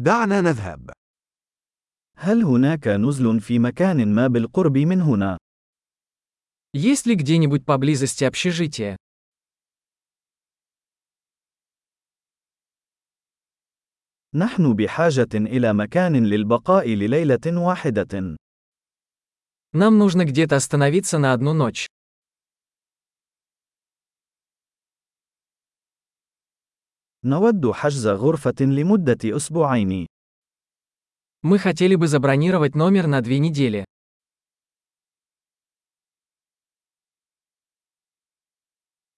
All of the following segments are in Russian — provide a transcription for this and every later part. دعنا نذهب. هل هناك نزل في مكان ما بالقرب من هنا؟ Есть ли где-нибудь поблизости общежитие? نحن بحاجة إلى مكان للبقاء لليلة واحدة. Нам нужно где-то остановиться на одну ночь. نود حجز غرفة لمدة أسبوعين. Мы хотели бы забронировать номер на две недели.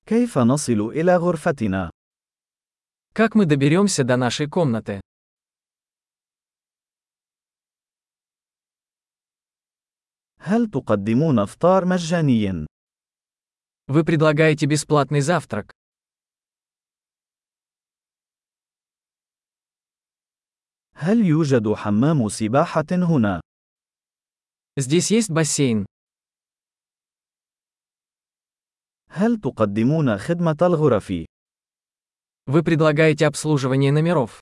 كيف نصل إلى غرفتنا؟ Как мы доберемся до нашей комнаты? هل تقدمون إفطار مجاني؟ Вы предлагаете бесплатный завтрак. هل يوجد حمام سباحة هنا؟ Здесь есть бассейн. هل تقدمون خدمة الغرف؟ Вы предлагаете обслуживание номеров.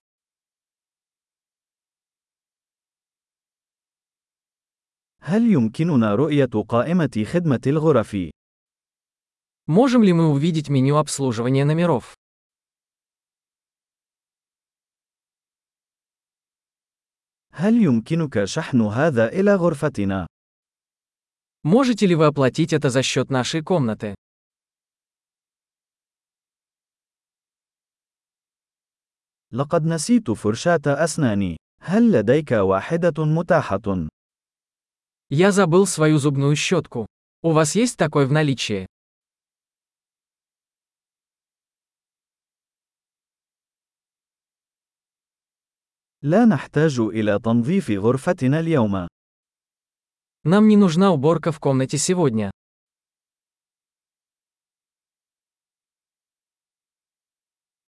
هل يمكننا رؤية قائمة خدمة الغرف؟ Можем ли мы увидеть меню обслуживания номеров? هل يمكنك شحن هذا إلى غرفتنا؟ Можете ли вы оплатить это за счет нашей комнаты? لقد نسيت فرشاة أسناني. هل لديك واحدة متاحة؟ Я забыл свою зубную щетку. У вас есть такой в наличии? لا نحتاج إلى تنظيف غرفتنا اليوم. Нам не нужна уборка в комнате сегодня.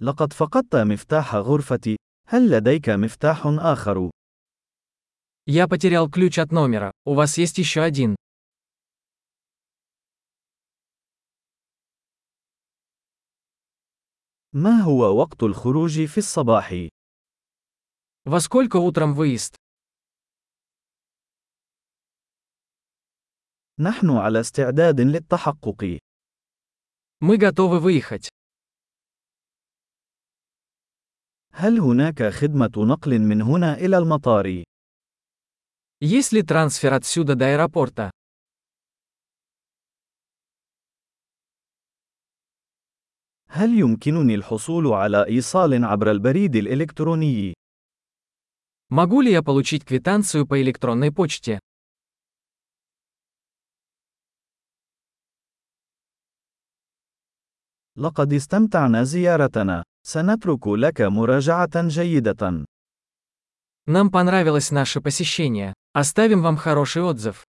لقد فقدت مفتاح غرفتي. هل لديك مفتاح آخر؟ Я потерял ключ от номера. У вас есть еще один. ما هو وقت الخروج في الصباح؟ Во сколько утром выезд? نحن على استعداد للتحقق. Мы готовы выехать. هل هناك خدمة نقل من هنا إلى المطار؟ Есть ли трансфер отсюда до аэропорта? هل يمكنني الحصول على إيصال عبر البريد الإلكتروني؟ Могу ли я получить квитанцию по электронной почте? لقد استمتعنا زيارتنا. سنترك لك مراجعة جيدة. Нам понравилось наше посещение. Оставим вам хороший отзыв.